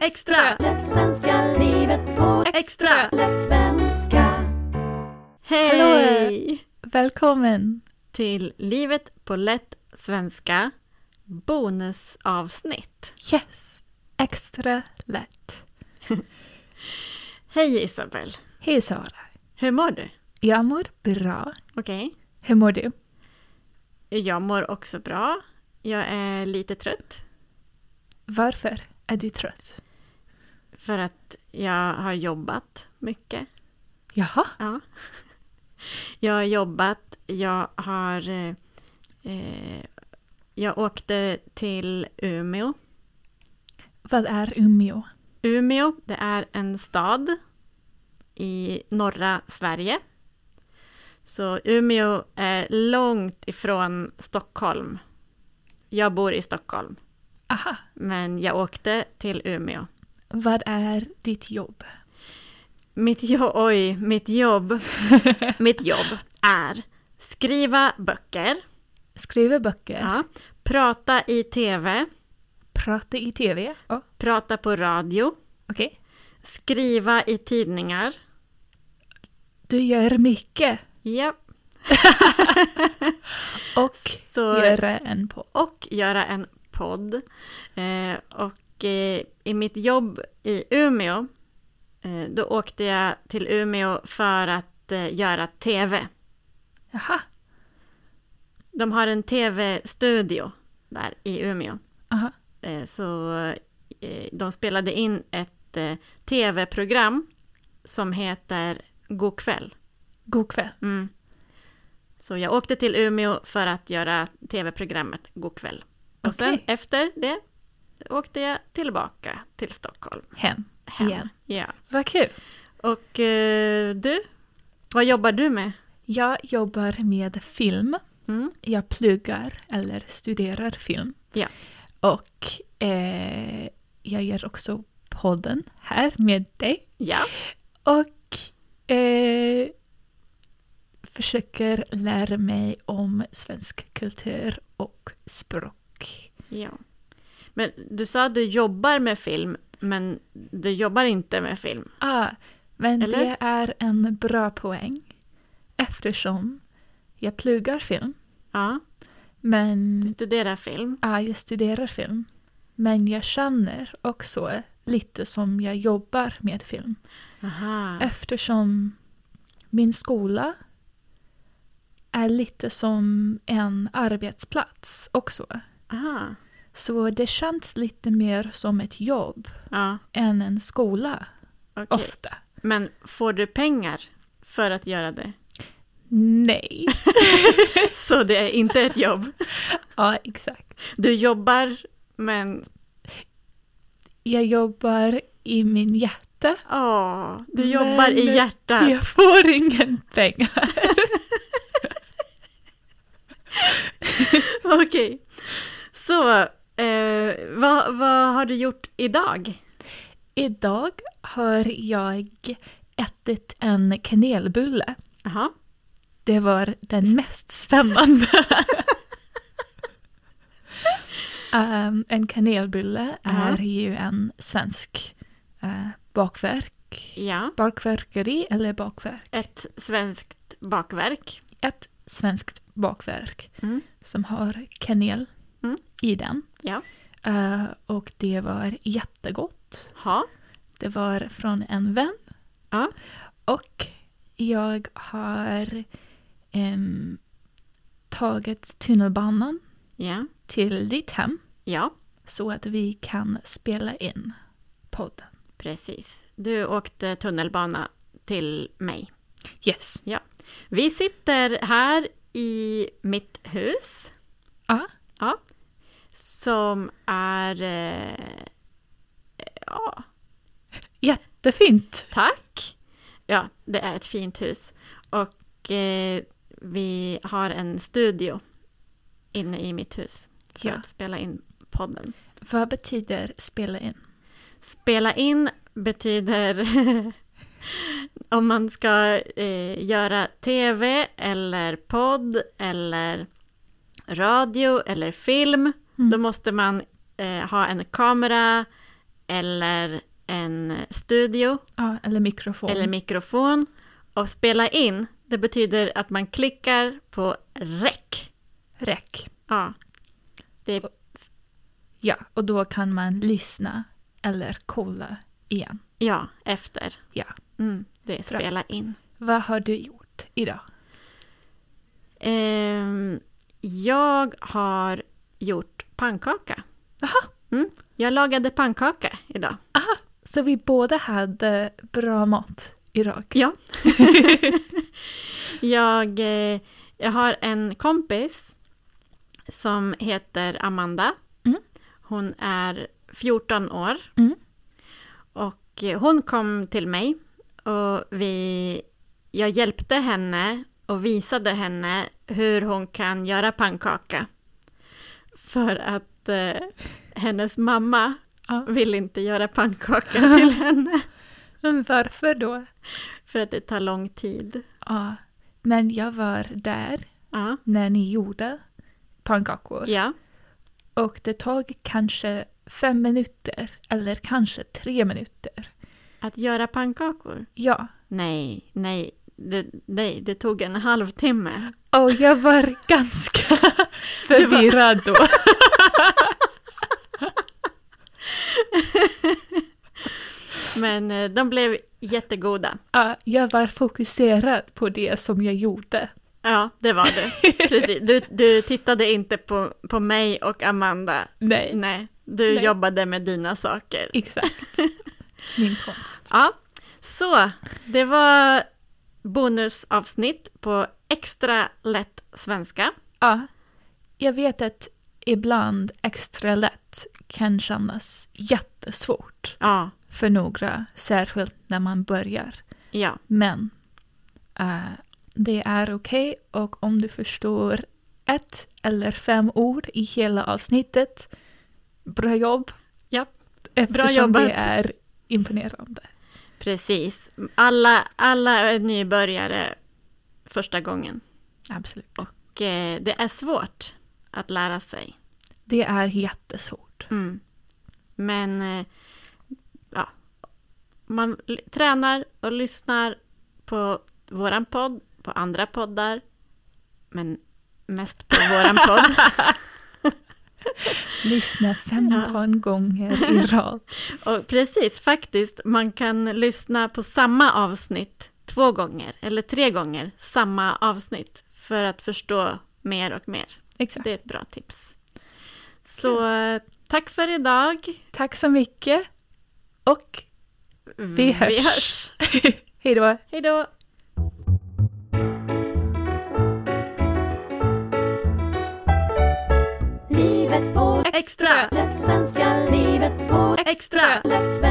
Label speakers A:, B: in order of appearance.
A: Extra!
B: Lätt svenska livet på
A: Extra!
B: lätt svenska.
A: Hej!
C: Välkommen!
A: Till Livet på lätt svenska bonusavsnitt.
C: Yes! Extra lätt.
A: Hej Isabel!
C: Hej Sara!
A: Hur mår du?
C: Jag mår bra.
A: Okej.
C: Hur mår du?
A: Jag mår också bra. Jag är lite trött
C: Varför är du trött?
A: för att jag har jobbat mycket.
C: Jaha,
A: Ja. Jag har jobbat, jag har... eh, Eh, jag åkte till Umeå.
C: vad är Umeå?
A: Umeå, det är en stad i norra Sverige. Så Umeå är långt ifrån Stockholm. Jag bor i Stockholm,
C: Aha,
A: men jag åkte till Umeå.
C: vad är ditt jobb?
A: Mitt, jo- oj, mitt jobb, mitt jobb är skriva böcker,
C: Skriva böcker,
A: ja, prata i tv,
C: prata i TV. Oh,
A: prata på radio,
C: Okej.
A: skriva i tidningar.
C: Du gör mycket
A: Japp,
C: och
A: så...
C: gör en på.
A: och göra en podd. Eh, och eh, i mitt jobb i Umeå, eh, då åkte jag till Umeå för att eh, göra TV.
C: Jaha,
A: De har en TV-studio där i Umeå.
C: aha.
A: Eh, så eh, de spelade in ett eh, TV-program som heter God kväll.
C: god kväll.
A: Mm. Så jag åkte till Umeå för att göra tv-programmet God kväll. Och
C: Okej.
A: sen efter det åkte jag tillbaka till Stockholm.
C: Hem.
A: Hem.
C: Igen.
A: Ja.
C: Vad kul!
A: Och eh, du, vad jobbar du med?
C: Jag jobbar med film.
A: Mm.
C: jag pluggar eller studerar film.
A: Ja.
C: Och eh, jag gör också podden här med dig.
A: Ja,
C: Och eh, försöker lära mig om svensk kultur och språk.
A: ja. Men du sa att du jobbar med film, men du jobbar inte med film.
C: Ah, men
A: Eller?
C: det är en bra poäng eftersom jag pluggar film.
A: Ja,
C: Men
A: du studerar film.
C: Ja, jag studerar film. Men jag känner också lite som jag jobbar med film.
A: Aha.
C: Eftersom min skola är lite som en arbetsplats också.
A: Aha.
C: Så det känns lite mer som ett jobb
A: Ja,
C: än en skola
A: okej.
C: ofta.
A: Men får du pengar för att göra det?
C: Nej.
A: Så det är inte ett jobb?
C: Ja, exakt.
A: Du jobbar, men
C: Jag jobbar i min hjärta.
A: åh, du
C: Men-
A: jobbar i hjärtat.
C: Jag får ingen pengar.
A: Okej. Så, eh, vad, vad har du gjort idag?
C: Idag har jag ätit en kanelbulle.
A: Jaha.
C: Det var den mest spännande. Ehm, en kanelbulle är
A: Ja.
C: ju en svensk eh, bakverk.
A: Ja,
C: Bakverkeri eller bakverk?
A: ett svenskt bakverk.
C: Ett svenskt bakverk
A: Mm.
C: som har kanel
A: Mm.
C: i den.
A: Ja.
C: Eh, och det var jättegott.
A: Ha.
C: Det var från en vän.
A: Ja.
C: Och jag har em, tagit tunnelbanan
A: Ja.
C: till ditt hem
A: Ja,
C: så att vi kan spela in podden.
A: precis. Du åkte tunnelbana till mig.
C: Yes.
A: Vi sitter här i mitt hus
C: Ja,
A: som är... Eh, ja,
C: jättefint.
A: Tack! Ja, det är ett fint hus. Och eh, vi har en studio inne i mitt hus för
C: Ja.
A: att spela in podden.
C: Vad betyder spela in?
A: Spela in betyder om man ska eh, göra tv eller podd eller radio eller film,
C: Mm.
A: då måste man eh, ha en kamera, eller en studio
C: Ja, eller mikrofon.
A: eller mikrofon och spela in, det betyder att man klickar på rec.
C: Räck.
A: Ja. Det är,
C: Ja, och då kan man lyssna eller kolla igen.
A: ja, efter.
C: Ja.
A: Mm, det är spela in.
C: Vad har du gjort idag?
A: Ehm, jag har gjort pannkaka.
C: Jaha.
A: Mm, jag lagade pannkaka idag.
C: Så vi båda hade bra mat idag.
A: Ja. jag, eh, jag har en kompis som heter Amanda.
C: Mm.
A: Hon är 14 år
C: Mm.
A: och eh, hon kom till mig och vi, jag hjälpte henne och visade henne hur hon kan göra pannkaka. För att eh, hennes mamma
C: Ja.
A: vill inte göra pannkaka till henne
C: Men varför då?
A: för att det tar lång tid.
C: Ja, men jag var där
A: Ja.
C: när ni gjorde pannkakor.
A: Ja,
C: Och det tog kanske fem minuter eller kanske tre minuter.
A: att göra pannkakor?
C: Ja,
A: Nej, nej, det, nej, det tog en halvtimme.
C: och jag var ganska förvirrad då.
A: Men eh, de blev jättegoda.
C: Ja, jag var fokuserad på det som jag gjorde.
A: Ja, det var det. Precis. Du, du tittade inte på, på mig och Amanda.
C: Nej,
A: Nej, du
C: Nej.
A: jobbade med dina saker.
C: exakt. Min konst.
A: Ja, så det var bonusavsnitt på extra lätt svenska.
C: Ja, jag vet att ibland extra lätt kan kännas jättesvårt
A: Ja,
C: för några, särskilt när man börjar.
A: ja,
C: Men eh, det är okej och om du förstår ett eller fem ord i hela avsnittet, bra jobb.
A: Ja,
C: Eftersom
A: jobbat.
C: det är imponerande.
A: precis. Alla, alla är nybörjare första gången.
C: Absolut.
A: Och eh, det är svårt att lära sig.
C: Det är jättesvårt.
A: Mm. Men eh, ja, man l- tränar och lyssnar på våran podd, på andra poddar, men mest på våran podd.
C: Lyssna 15 gånger i rad.
A: Och precis, faktiskt, man kan lyssna på samma avsnitt två gånger eller tre gånger, samma avsnitt, för att förstå mer och mer.
C: Exakt.
A: Det är ett bra tips. Så eh, tack för idag.
C: Tack så mycket. Och vi hörs.
A: Vi hörs.
C: Hej då.
A: Hej då!
B: Livet på
A: Extra!
B: Lätt svenska livet på
A: Extra!
B: Lätt